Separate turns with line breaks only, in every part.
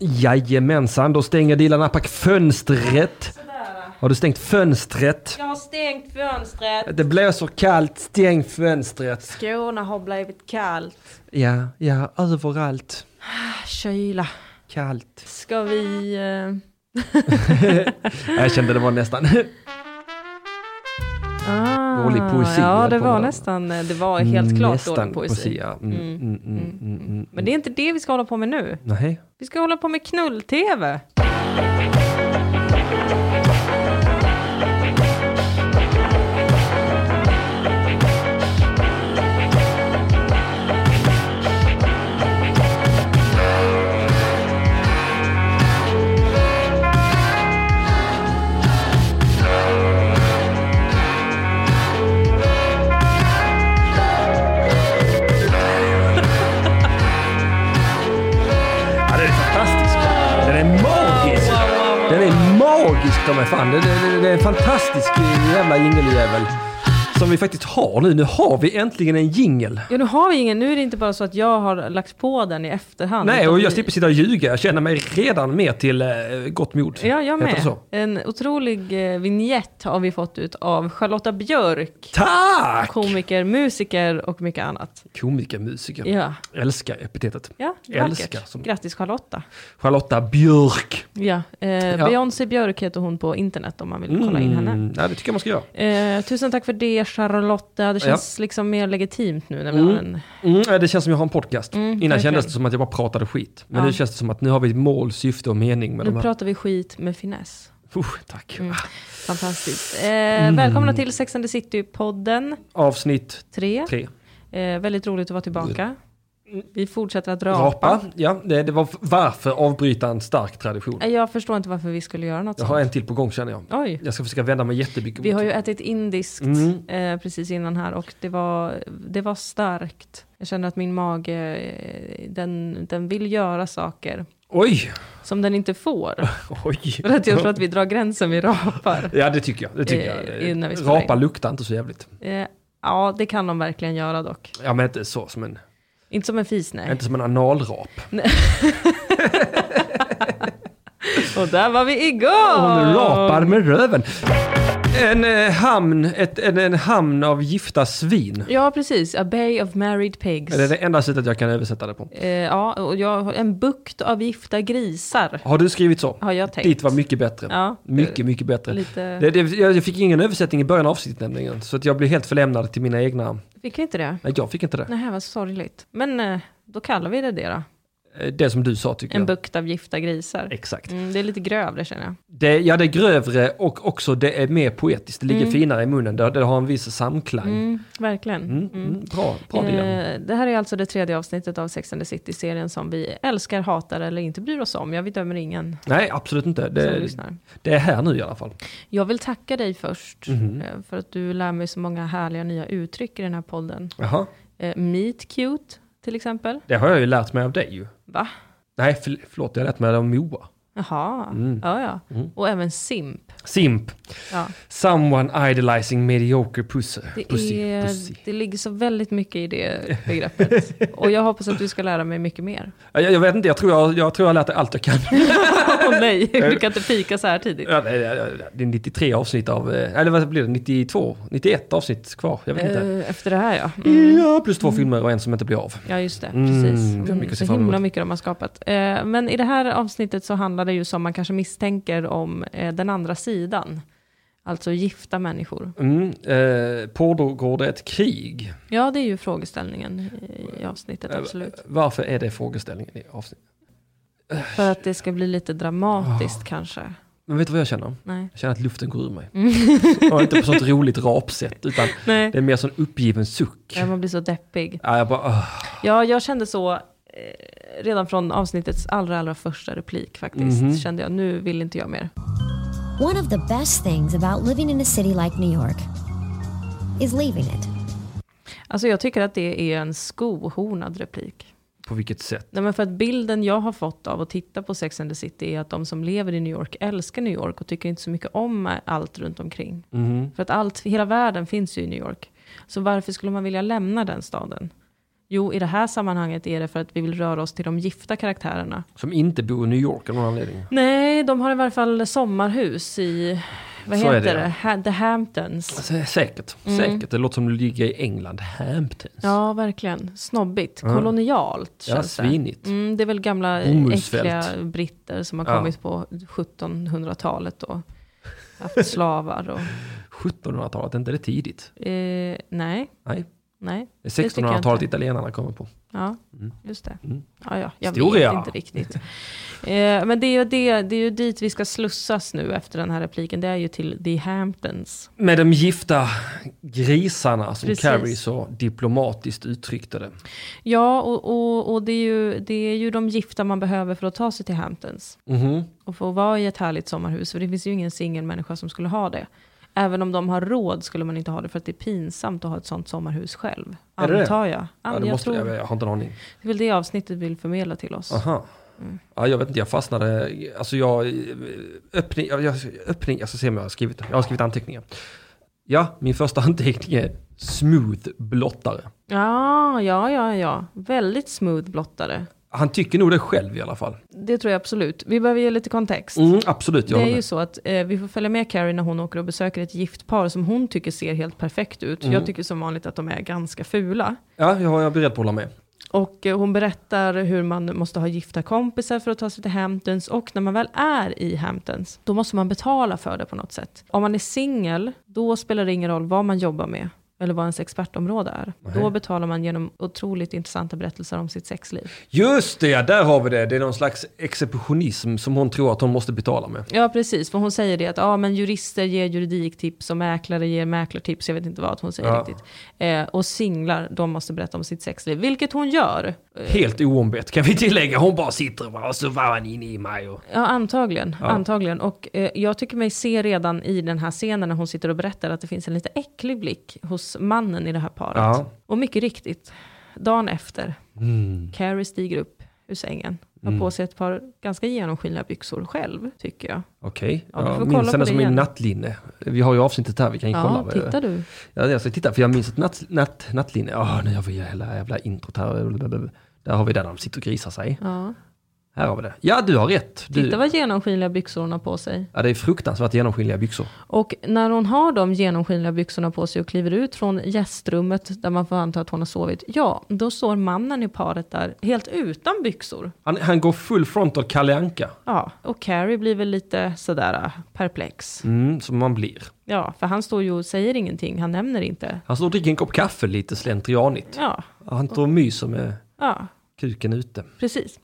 Jajamensan, då stänger Dilan Apak fönstret.
Sådär.
Har du stängt fönstret?
Jag har stängt fönstret.
Det blåser kallt, stäng fönstret.
Skorna har blivit kallt.
Ja, ja, överallt.
Ah, Kyla.
Kallt.
Ska vi... eh,
Jag kände det var nästan.
Ah,
Dålig poesi
Ja,
höll
det
på
var
med.
nästan, eh, det var helt klart
nästan
dålig poesi.
ja. Mm, mm, mm, mm, mm, mm.
Men det är inte det vi ska hålla på med nu.
Nej.
Vi ska hålla på med knull-tv.
Ja, den är fantastisk. Den är magisk. Den är magisk, de är fan. Det, det, det, det är en fantastisk jävla jingeljävel. Som vi faktiskt har nu. Nu har vi äntligen en jingel.
Ja, nu har vi ingen. Nu är det inte bara så att jag har lagt på den i efterhand.
Nej,
utan
och
vi-
jag slipper sitta och ljuga. Jag känner mig redan mer till eh, gott mod.
Ja, jag
Heter det
med.
så.
En otrolig eh, vignett har vi fått ut av Charlotta Björk.
Tack!
Komiker, musiker och mycket annat.
Komiker, musiker.
Ja,
Älskar epitetet.
ja
Älskar
vackert.
som-
Grattis Charlotta.
Charlotta Björk.
Ja, eh, Beyoncé Björk heter hon på internet om man vill kolla in henne.
Mm, Ja, det tycker jag man ska göra.
Eh, tusen tack för det Charlotta. Det känns liksom mer legitimt nu när vi har en...
Mm, ja, det känns som jag har en podcast. Innan
verkligen.
kändes det som att jag bara pratade skit. Men
Mm, Ja.
nu känns det som att nu har vi ett mål, syfte och mening med de
Nu Mm.
här.
pratar vi skit med finess.
Usch, tack.
Fantastiskt. Eh,
Mm.
Välkomna till Sex and the City-podden
Avsnitt
3.
tre.
Eh, väldigt roligt att vara tillbaka. Vi fortsätter att rapa.
Mm. Rapa. Ja, det, det var varför avbryta en stark tradition.
Eh, Jag förstår inte varför vi skulle göra något
Jag har
sånt.
en till på gång känner jag.
Oj.
Jag ska försöka vända mig jättemycket
Vi
mot-
har ju ätit indiskt
Mm.
eh, precis innan här och det var, det var starkt. Jag känner att min mage, eh, den, den vill göra saker
Oj!
som den inte får.
Oj!
För att jag tror att vi drar gränsen vid rapar.
Ja det tycker jag. Det tycker
Eh, innan vi
jag.
spelar
Rapa
in.
luktar inte så jävligt.
Eh, ja, det kan de verkligen göra dock.
Ja men inte så som en,
Inte som en fis, nej.
inte som en analrap.
Och där var vi
Hon
igång!
rapar med röven. En eh, hamn, ett, en, en hamn av gifta svin.
Ja, precis. A Bay of Married Pigs.
Det är det enda sättet jag kan översätta det på.
Eh, ja, och jag, en bukt av gifta grisar
Har du skrivit så?
har jag tänkt.
Ditt var mycket bättre.
Ja.
Mycket, mycket bättre.
Lite-
Det, det, jag jag fick ingen översättning i början av avsnittet nämligen. Så att jag blev helt förlämnad till mina egna.
Fick vi inte det?
Nej, jag fick inte det.
Nej, vad sorgligt. Men eh, då kallar vi det det då.
Eh, Det som du sa tycker
En
jag.
bukt av gifta grisar.
Exakt.
Mm, det är lite grövre känner jag.
Det, ja, det är grövre och också det är mer poetiskt. Det ligger
Mm.
finare i munnen. Det, det har en viss samklang.
Mm, verkligen.
Mm,
Mm.
mm, bra, bra Dilan.
Eh, det här är alltså det tredje avsnittet av Sex and the City-serien som vi älskar, hatar eller inte bryr oss om. Jag vi dömer ingen
Nej, absolut inte.
som
Det,
lyssnar.
det är här nu i alla fall.
Jag vill tacka dig först
Mhm.
eh, för att du lär mig så många härliga nya uttryck i den här podden.
Jaha.
Eh, meet cute till exempel.
Det har jag ju lärt mig av dig ju.
Va?
Nej, förl- förlåt, jag har lärt mig det av Moa.
Jaha,
Mm.
ja ja.
Mm.
Och även simp.
Simp.
Ja.
Someone idealizing mediocre pussy.
Det,
pussy.
är,
pussy.
det ligger så väldigt mycket i det begreppet. Och jag hoppas att du ska lära mig mycket mer.
Jag, jag vet inte, jag tror jag, jag tror jag har lärt dig allt jag kan.
Åh nej, du kan inte fika så här tidigt.
Ja, det är- det är 93 avsnitt av, eh, eller vad blir det, 92? 91 avsnitt kvar, jag vet inte.
Eh, Efter det här ja.
Ja, plus två filmer och en som inte blir av.
Ja just det,
Mm,
precis.
det är mycket att se
så
fram
himla
emot.
mycket de har skapat. Eh, Men i det här avsnittet så handlar det ju som man kanske misstänker om eh, den andra sidan. Alltså gifta människor.
Mm, eh, pågår det ett krig?
Ja det är ju frågeställningen i- i avsnittet absolut.
Varför är det frågeställningen i avsnittet?
För att det ska bli lite
Ah.
dramatiskt kanske.
Men vet du vad jag känner?
Nej.
Jag känner att luften går ur mig. Och inte på sånt roligt rapsätt, utan
Nej.
det är mer sån uppgiven suck.
Ja, man blir så deppig.
Ja, jag bara, ah.
Ja jag kände så eh, redan från avsnittets allra allra första replik faktiskt.
Mhm.
Kände jag nu vill inte jag mer.
One of the best things about living in a city like New York is leaving it.
Alltså jag tycker att det är en skohornad replik.
på vilket sätt?
Nej, men för att bilden jag har fått av att titta på Sex and the City är att de som lever i New York älskar New York och tycker inte så mycket om allt runt omkring.
Mm.
För att allt, hela världen finns ju i New York. Så varför skulle man vilja lämna den staden? Jo, i det här sammanhanget är det för att vi vill röra oss till de gifta karaktärerna.
Som inte bor i New York av någon anledning.
Nej, de har i varje fall sommarhus i, vad
Så är
heter
det,
det?
ja.
Ha- The Hamptons.
Sä- Alltså, Säkert, säkert. Det låter som det ligger i England. Hamptons.
Mm. Ja, verkligen. Snobbigt.
Ja.
Kolonialt
Ja,
känns det.
svinigt.
Mm, det är väl gamla
Bomullsfält.
äckliga britter som har
Ja.
kommit på 1700-talet och haft slavar och...
1700-talet, inte det tidigt?
Eh, nej,
Nej,
nej.
det är
tycker jag
1600-talet
inte.
italienarna kommer på.
Ja, just det. Ja, ja, jag
Mm. Historia.
vet inte riktigt. Eh, men det är, ju det, det är ju dit vi ska slussas nu efter den här repliken. Det är ju till The Hamptons.
Med de gifta grisarna som
Precis.
Carrie så diplomatiskt uttryckte det.
Ja, och, och, och det, är ju, det är ju de gifta man behöver för att ta sig till Hamptons.
Mhm.
Och få vara i ett härligt sommarhus. För det finns ju ingen singelmänniska som skulle ha det. Även om de har råd skulle man inte ha det för att det är pinsamt att ha ett sånt sommarhus själv.
Är det det?
Antar jag.
Ja,
An-
det
jag,
måste,
tror,
jag, jag har inte en aning.
Det är väl det avsnittet vill förmedla till oss.
Aha.
Mm.
Ja, jag vet inte, jag fastnade. Alltså jag, öppning, jag, jag- öppning, jag ska se om jag har skrivit, jag har skrivit anteckningar. Ja, min första anteckning är smooth blottare.
Ja, ja, ja, ja. Väldigt smooth blottare.
Han tycker nog det själv i alla fall.
Det tror jag absolut. Vi behöver ge lite kontext.
Mm, absolut, jag
Det
håller
är ju
med.
så att eh, vi får följa med Carrie när hon åker och besöker ett gift par som hon tycker ser helt perfekt ut.
Mm.
Jag tycker som vanligt att de är ganska fula.
Ja, jag, jag är beredd på att hålla med.
Och eh, hon berättar hur man måste ha gifta kompisar för att ta sig till Hamptons. Och när man väl är i Hamptons, då måste man betala för det på något sätt. Om man är singel, då spelar det ingen roll vad man jobbar med eller vad ens expertområde är. Då betalar man genom otroligt intressanta berättelser om sitt sexliv.
Just det, ja, där har vi det. Det är någon slags exceptionism som hon tror att hon måste betala med.
Ja, precis. För hon säger det att ah, men jurister ger juridiktips och mäklare ger mäklartips. Jag vet inte vad hon säger
Ja.
riktigt. Eh, och singlar, de måste berätta om sitt sexliv. Vilket hon gör.
Helt oombett kan vi tillägga. Hon bara sitter va, och så var han inne i mig. Och...
Ja, antagligen.
Ja.
antagligen. Och eh, jag tycker mig se redan i den här scenen när hon sitter och berättar att det finns en lite äcklig blick hos mannen i det här paret.
Ja. Mm.
Och mycket riktigt, dagen efter, Carrie stiger upp ur sängen. Har på sig ett par ganska genomskinliga byxor själv, tycker jag.
Okej,
Ja, vi får
jag
kolla
minns
på
henne
det
som i
igen.
nattlinne. Vi har ju avsnittet här, vi kan ju kolla.
Ja,
vad-
tittar du?
Ja, jag ska titta, för jag minns ett natt, natt, nattlinne. Åh, nu har vi hela jävla introt här. Där har vi där de sitter och grisar sig.
Ja.
Här har vi det. Ja, du har rätt. Du,
Titta vad genomskinliga byxor hon har på sig.
ja, det är fruktansvärt genomskinliga byxor.
Och när hon har de genomskinliga byxorna på sig och kliver ut från gästrummet där man får anta att hon har sovit, ja, då står mannen i paret där helt utan byxor.
Han, han går full frontal Kalle Anka,
Ja, och Carrie blir väl lite sådär äh, perplex.
mm, som man blir.
Ja, för han står ju och säger ingenting, han nämner inte.
Han står och dricker en kopp kaffe lite slentrianigt.
Ja,
Han står och myser med
ja,
kuken ute.
precis.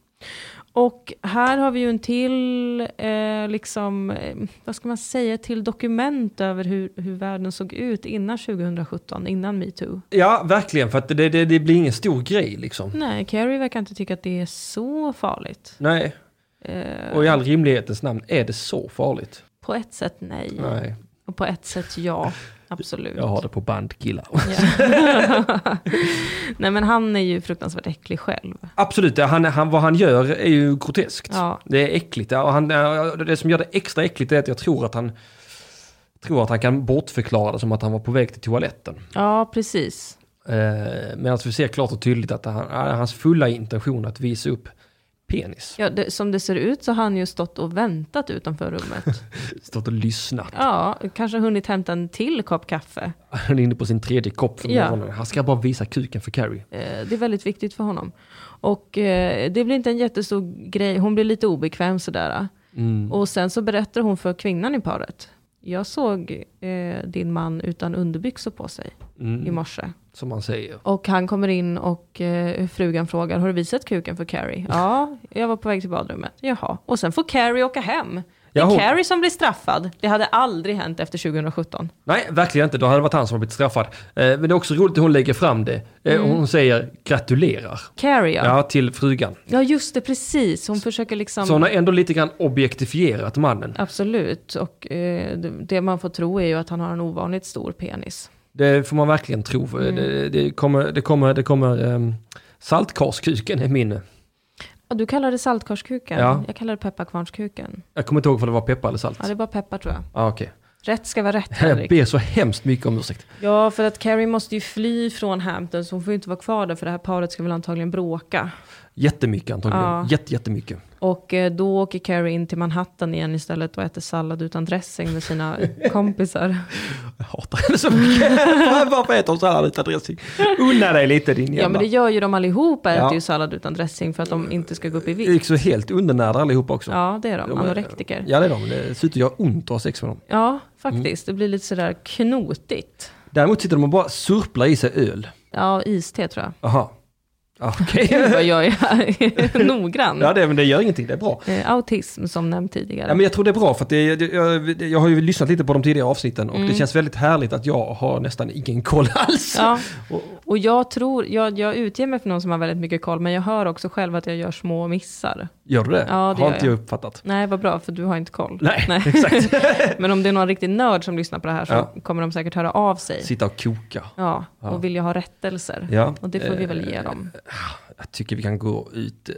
Och här har vi ju en till, eh, liksom, eh, vad ska man säga, till dokument över hur, hur världen såg ut innan 2017, innan metoo.
Ja, verkligen, för att det, det, det blir ingen stor grej liksom.
Nej, Carrie verkar inte tycka att det är så farligt.
Nej,
Eh,
och i all rimlighetens namn, är det så farligt?
på ett sätt nej,
Nej,
och på ett sätt ja. Absolut.
jag har det på band killar.
Ja. nej men han är ju fruktansvärt äcklig själv.
Absolut, ja, han, han, vad han gör är ju groteskt.
Ja.
Det är äckligt. ja, Och han, ja, det som gör det extra äckligt är att jag tror att han tror att han kan bortförklara det som att han var på väg till toaletten.
Ja, precis.
Eh, Medan vi ser klart och tydligt att han, ja, hans fulla intention att visa upp penis.
Ja, det, som det ser ut så har han ju stått och väntat utanför rummet.
Stått och lyssnat.
Ja, kanske hunnit hämta en till kopp kaffe.
Han är inne på sin tredje kopp för
Ja.
morgonen. Han ska bara visa kuken för Carrie.
Eh, Det är väldigt viktigt för honom. Och eh, det blir inte en jättestor grej, hon blir lite obekväm sådär. Och sen så berättar hon för kvinnan i paret. Jag såg eh, din man utan underbyxor på sig i morse.
Som man säger.
Och han kommer in och eh, frugan frågar, har du visat kuken för Carrie? Ja, jag var på väg till badrummet. Jaha. Och sen får Carrie åka hem. Det är
Ja, hon-
Carrie som blir straffad. Det hade aldrig hänt efter 2017.
Nej, verkligen inte. Då hade det varit han som har blivit straffad. Eh, Men det är också roligt hur hon lägger fram det. Eh, Hon säger gratulerar.
Carrie Mm. ja.
Ja, till frugan.
Ja just det, precis. Hon försöker liksom...
Så hon har ändå lite grann objektifierat mannen.
Absolut. Och eh, det- det man får tro är ju att han har en ovanligt stor penis.
Det får man verkligen tro. Eh,
Mm.
Det, det kommer, det kommer, det kommer ehm, saltkarskuken är min.
Ja, du kallar det saltkarskuken.
Ja.
Jag kallar det pepparkvarnskuken.
Jag kommer inte ihåg om det var peppar eller salt.
Ja, det är bara peppar tror jag.
ah, okej.
Rätt ska vara rätt,
Jag
Henrik.
ber så hemskt mycket om ursäkt.
Ja, för att Carrie måste ju fly från Hamptons. Hon får ju inte vara kvar där för det här paret ska väl antagligen bråka.
Jättemycket antagligen.
Ja.
Jätte, jättemycket.
Och eh, då åker Carrie in till Manhattan igen istället och äter sallad utan dressing med sina kompisar.
Jag hatar henne så mycket. Varför äter hon sallad utan dressing? Unna dig lite din jävla...
Ja, men det gör ju de allihopa, äter
Ja.
ju sallad utan dressing för att de inte ska gå upp i
Det gick
vikt.
så helt undernärda allihopa också.
Ja, det är de,
De är-
anorektiker.
Ja det är de. Det ser ut att göra ont att ha sex med dem.
Ja, faktiskt. Det blir lite sådär knotigt.
Däremot sitter de och bara surplar i sig öl.
Ja, iste tror jag.
Aha. Okej.
Gud vad jag är noggrann.
ja det, men det gör ingenting, det är bra.
Eh, Autism som nämnt tidigare.
Ja, men jag tror det är bra för att det, det- jag, jag har ju lyssnat lite på de tidigare avsnitten och det känns väldigt härligt att jag har nästan ingen koll alls.
Mm. Ja. Och jag tror, jag, jag utger mig för någon som har väldigt mycket koll, men jag hör också själv att jag gör små missar.
Gör du det?
Ja, det
har
gör
inte
jag.
jag uppfattat.
Nej, vad bra, för du har inte koll.
Nej, exakt.
Men om det är någon riktig nörd som lyssnar på det här så
Ja.
kommer de säkert höra av sig.
Sitta och koka.
Ja, Eh, och vill jag ha rättelser.
Ja.
Och det får vi väl ge dem.
Jag tycker vi kan gå ut eh,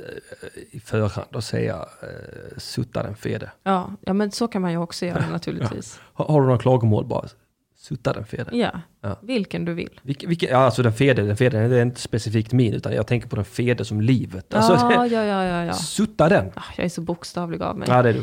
i förhand och säga eh, sutta den fede.
Ja, ja, men så kan man ju också göra naturligtvis.
Har, har du några klagomål bara? Sutta den fede.
Ja,
Ja.
vilken du vill.
Vilke, vilke, ja, alltså den fede, den fede det är inte specifikt min utan jag tänker på den fede som livet. Alltså,
ja,
det,
ja, ja, ja, ja.
Sutta den.
Ah, Jag är så bokstavlig av mig.
Ja, det är du.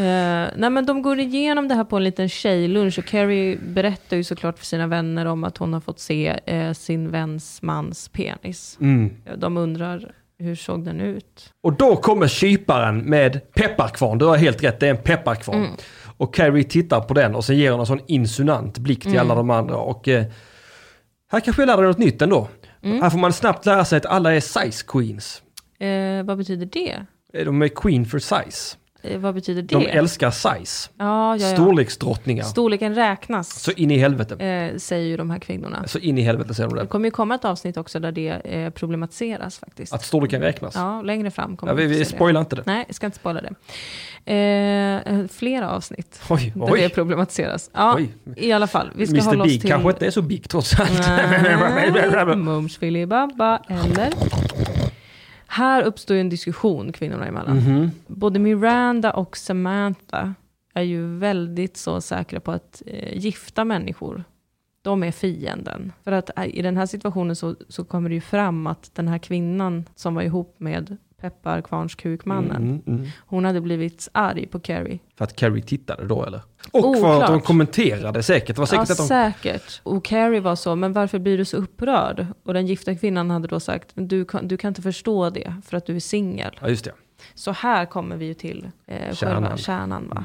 Eh, nej men de går igenom det här på en liten tjejlunch och Carrie berättar ju såklart för sina vänner om att hon har fått se eh, sin väns mans penis.
Mm.
De undrar hur såg den ut?
Och då kommer kyparen med pepparkvarn. Du har helt rätt, det är en pepparkvarn.
Mm.
Och Carrie tittar på den och sen ger hon en sån insinuant blick till
Mm.
alla de andra. Och eh, här kanske jag lär dig något nytt ändå.
Mm.
Här får man snabbt lära sig att alla är size queens.
Eh, vad betyder det?
Eh, De är queen for size.
Eh, vad betyder det?
De älskar size.
ja, ja, ja.
Storleksdrottningar.
Storleken räknas,
Så in i helvete.
eh, säger ju de här kvinnorna.
Så in i helvete säger de
Det
det.
kommer ju komma ett avsnitt också där det eh, problematiseras faktiskt.
Att storleken räknas.
Ja, längre fram kommer
Ja, vi,
vi
vi
se det.
spoilar inte det.
Nej, jag ska inte spoila det. Eh, flera avsnitt.
Oj,
Där det
oj.
problematiseras. Ja,
Oj.
i alla fall. Vi ska hålla
Mr
oss
Big
till...
kanske inte är så big trots allt.
Nej, Mums filibabba, eller? Här uppstår ju en diskussion kvinnorna
Mm.
emellan.
Mm-hmm.
Både Miranda och Samantha är ju väldigt så säkra på att eh, gifta människor, de är fienden. För att eh, i den här situationen så, så kommer det ju fram att den här kvinnan som var ihop med pepparkvarnskukmannen,
Mm, mm.
hon hade blivit arg på Carrie.
För att Carrie tittade då eller? Och för
Oklart.
att de kommenterade säkert. Det var säkert
ja,
att de...
säkert. Och Carrie var så, men varför blir du så upprörd? Och den gifta kvinnan hade då sagt, men du kan, du kan inte förstå det för att du är singel.
Ja, just det.
Så här kommer vi ju till eh, själva
Kärnan. Mm.
kärnan, va?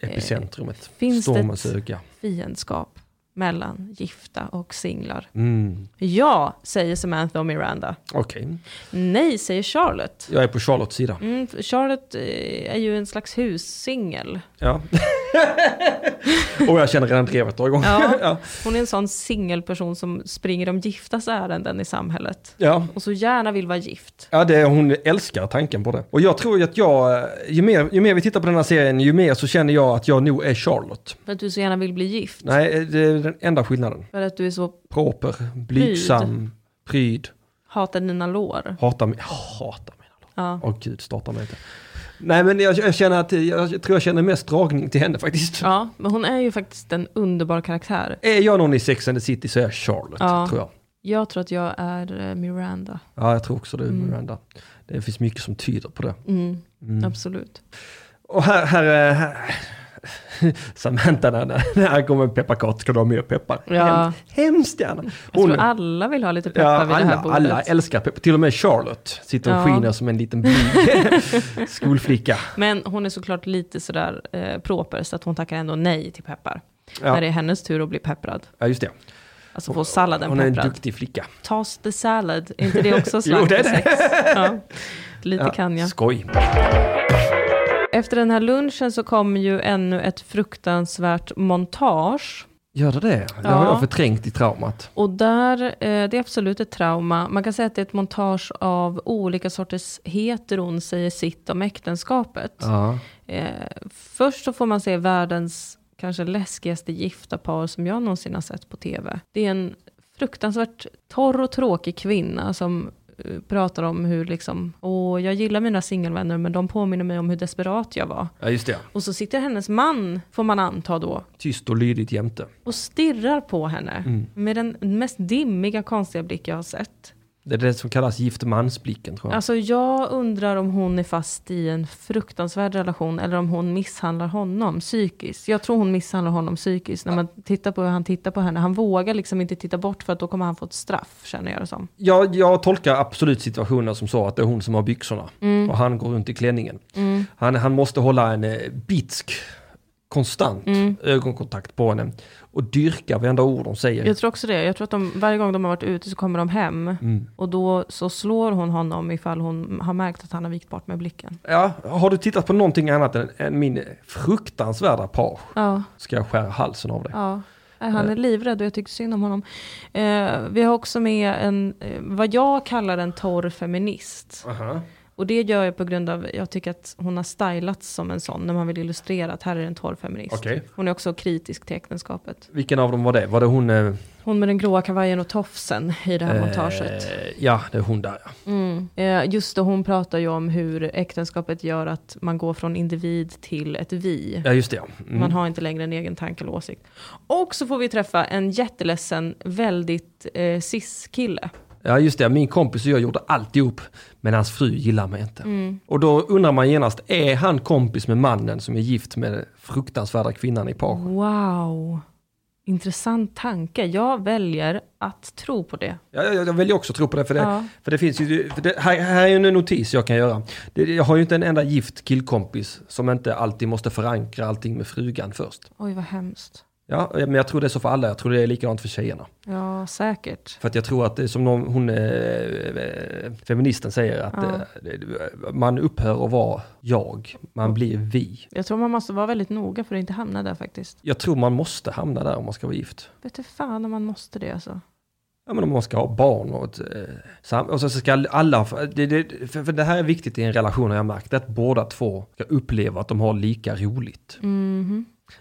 Epicentrumet.
Eh, finns det
Stormens
ett-
öga.
Fiendskap mellan gifta och singlar.
Mm.
Ja, säger Samantha och Miranda.
Okej,
Nej, säger Charlotte.
jag är på Charlottes sida.
Mm, för Charlotte eh, är ju en slags hussingel.
Ja. och jag känner redan drevet dra igång.
Ja.
ja.
Hon är en sån singelperson som springer de giftas ärenden i samhället.
ja.
Och så gärna vill vara gift.
Ja, det, hon älskar tanken på det. Och jag tror ju att jag, eh, ju mer, ju mer vi tittar på den här serien, ju mer så känner jag att jag nog är Charlotte.
För att du så gärna vill bli gift.
Nej, det är den enda skillnaden.
För att du är så
Proper, blygsam, pryd,
hatar dina lår.
hatar, mi- hatar mina låtar.
Ja.
Åh gud, starta mig inte. Nej men jag, jag känner att, jag tror jag känner mest dragning till henne faktiskt.
ja, men hon är ju faktiskt en underbar karaktär.
Är jag någon i Sex and the City så är jag Charlotte,
Ja.
tror jag.
Jag tror att jag är eh, Miranda.
Ja, jag tror också det, Miranda. Det finns mycket som tyder på det.
Mm, Absolut. Och
Och här, här, eh, här Samantha, när, när här kommer en pepparkaka ska du ha mer peppar.
Ja.
Hemskt, hemskt gärna.
Jag
Hon-
tror alla vill ha lite peppar
Ja,
vid det
alla,
här bordet.
alla älskar peppar. Till och med Charlotte sitter och
Ja.
skiner som en liten blyg skolflicka.
Men hon är såklart lite sådär eh, proper, så att hon tackar ändå nej till peppar.
Ja.
När det är hennes tur att bli pepprad.
Ja, just det.
Alltså få salladen
Hon är en
pepprad.
duktig flicka.
Toss the salad, är inte det också
Jo,
slang
det är
för sex? Ja. Lite
Ja,
kan jag.
Skoj.
Efter den här lunchen så kommer ju ännu ett fruktansvärt montage.
Gör det det? Det har
Ja.
jag förträngt i traumat.
Och där, eh, det är absolut ett trauma. Man kan säga att det är ett montage av olika sorters heteron säger sitt om äktenskapet.
Ja.
Eh, först så får man se världens kanske läskigaste gifta par som jag någonsin har sett på tv. Det är en fruktansvärt torr och tråkig kvinna som eh, eh, pratar om hur liksom, åh jag gillar mina singelvänner men de påminner mig om hur desperat jag var.
Ja, just det.
Och så sitter hennes man, får man anta då,
Tyst och lydigt jämte.
och stirrar på henne med den mest dimmiga konstiga blick jag har sett.
Det är det som kallas giftmansblicken tror jag.
Alltså jag undrar om hon är fast i en fruktansvärd relation eller om hon misshandlar honom psykiskt. Jag tror hon misshandlar honom psykiskt när man tittar på hur han tittar på henne. Han vågar liksom inte titta bort för att då kommer han få ett straff känner jag det som.
Jag, jag tolkar absolut situationen som så att det är hon som har byxorna
Mm.
och han går runt i klänningen. Han, han måste hålla en eh, bitsk, konstant
Mm.
ögonkontakt på henne och dyrka varenda ord hon säger.
Jag tror också det. Jag tror att de, varje gång de har varit ute så kommer de hem och då så slår hon honom ifall hon har märkt att han har vikt bort med blicken.
Ja, har du tittat på någonting annat än, än min fruktansvärda page
Ja,
ska jag skära halsen av dig.
ja. Nej, Han är livrädd och jag tycker synd om honom. Eh, vi har också med en, eh, vad jag kallar en torr feminist.
Aha.
Och det gör jag på grund av, jag tycker att hon har stylats som en sån när man vill illustrera att här är en torr feminist.
Okej.
Hon är också kritisk till äktenskapet.
Vilken av dem var det? Var det hon... Eh,
Hon med den gråa kavajen och tofsen i det här montaget.
eh, ja, det är hon där ja.
Eh, Just det, hon pratar ju om hur äktenskapet gör att man går från individ till ett vi.
Ja, just det. ja. Mm.
Man har inte längre en egen tanke eller åsikt. Och så får vi träffa en jätteledsen, väldigt eh, cis-kille.
Ja, just det. Min kompis och jag gjorde alltihop, men hans fru gillar mig inte.
Mm.
Och då undrar man genast, är han kompis med mannen som är gift med den fruktansvärda kvinnan i
Mm.
pagen?
Wow, intressant tanke. Jag väljer att tro på det.
Ja, jag, jag väljer också tro på det, för det,
Ja.
för det finns ju... För det, här, här är ju en notis jag kan göra. Det, jag har ju inte en enda gift killkompis som inte alltid måste förankra allting med frugan först.
Oj, vad hemskt.
Ja, men jag tror det är så för alla. Jag tror det är likadant för tjejerna.
Ja, säkert.
För att jag tror att det är som någon, hon, eh, eh, feministen säger, att
Ja.
eh, det- man upphör att vara jag, man blir vi.
Jag tror man måste vara väldigt noga för att inte hamna där faktiskt.
Jag tror man måste hamna där om man ska vara gift.
Vet du fan om man måste det alltså.
Ja, men om man ska ha barn och, ett, eh, sam- och så ska alla, det, det, för, för det här är viktigt i en relation har jag märkt, att båda två ska uppleva att de har lika roligt.
Mm-hmm.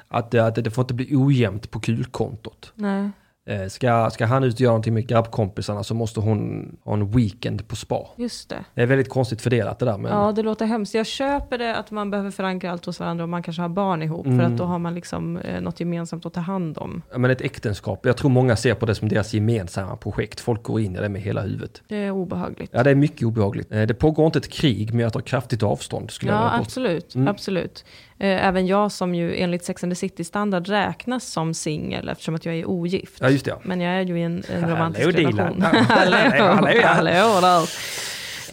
Att, det- att det får inte bli ojämnt på kulkontot.
Nej.
Eh, Ska, ska han ut och göra någonting med grabbkompisarna så måste hon ha en weekend på spa.
Just det.
Det är väldigt konstigt fördelat det där. Men,
Ja, det låter hemskt. Jag köper det att man behöver förankra allt hos varandra och man kanske har barn ihop för
Mm.
att då har man liksom eh, något gemensamt att ta hand om.
men ett äktenskap, jag tror många ser på det som deras gemensamma projekt. Folk går in i det med hela huvudet.
Det är obehagligt.
Ja, det är mycket obehagligt. Eh, Det pågår inte ett krig, men jag tar kraftigt avstånd. Skulle
Ja,
jag Mm. absolut.
absolut. absolut. Eh, Även jag som ju enligt Sex and the City-standard räknas som singel eftersom att jag är ogift.
Ja, just det.
Men jag är ju i en, en romantisk
Hallå,
relation.
Dilan. Hallå, hallå, ja.
Hallå där.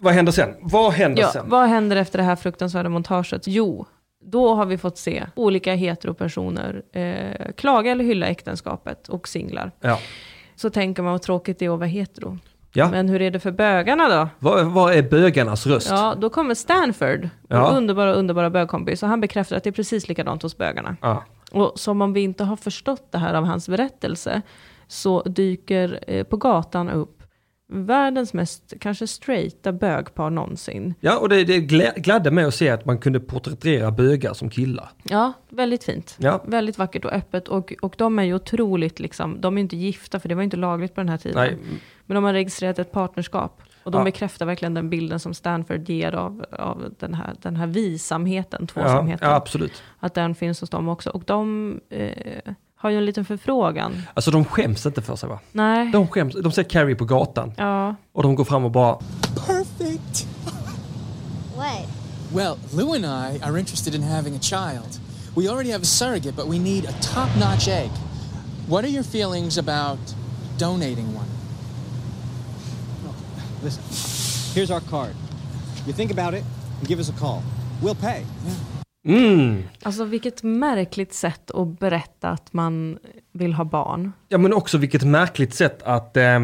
Vad händer sen? Vad händer
Ja,
sen?
vad händer efter det här fruktansvärda montaget? Jo, då har vi fått se olika heteropersoner eh, klaga eller hylla äktenskapet och singlar.
Ja.
Så tänker man vad tråkigt det är att vara hetero.
Ja.
Men hur är det för bögarna då?
Vad, vad är bögarnas röst?
Ja, då kommer Stanford,
Ja.
vår underbara, underbara bögkompis, och han bekräftar att det är precis likadant hos bögarna.
Ja.
Och som om vi inte har förstått det här av hans berättelse, så dyker eh, på gatan upp världens mest kanske straighta bögpar någonsin.
Ja, och det, det glä- gladde mig att se att man kunde porträttera bögar som killar.
Ja, väldigt fint.
Ja.
Väldigt vackert och öppet. Och, och de är ju otroligt, liksom, de är ju inte gifta för det var ju inte lagligt på den här tiden.
Nej.
Men de har registrerat ett partnerskap. Och de
Ja.
bekräftar verkligen den bilden som Stanford ger av, av den, här, den här visamheten,
Ja,
tvåsamheten.
ja, absolut.
Att den finns hos dem också. Och de eh, har ju en liten förfrågan.
Alltså de skäms inte för sig va?
Nej.
De skäms, de ser Carrie på gatan
Ja,
och de går fram och bara
Perfect.
What?
Well, Lou and I are interested in having a child. We already have a surrogate, but we need a top notch egg. What are your feelings about donating one?
Listen, here's our card. You think about it and give us a call. We'll pay.
alltså vilket märkligt sätt att berätta att man vill ha barn.
Ja men också vilket märkligt sätt att, eh,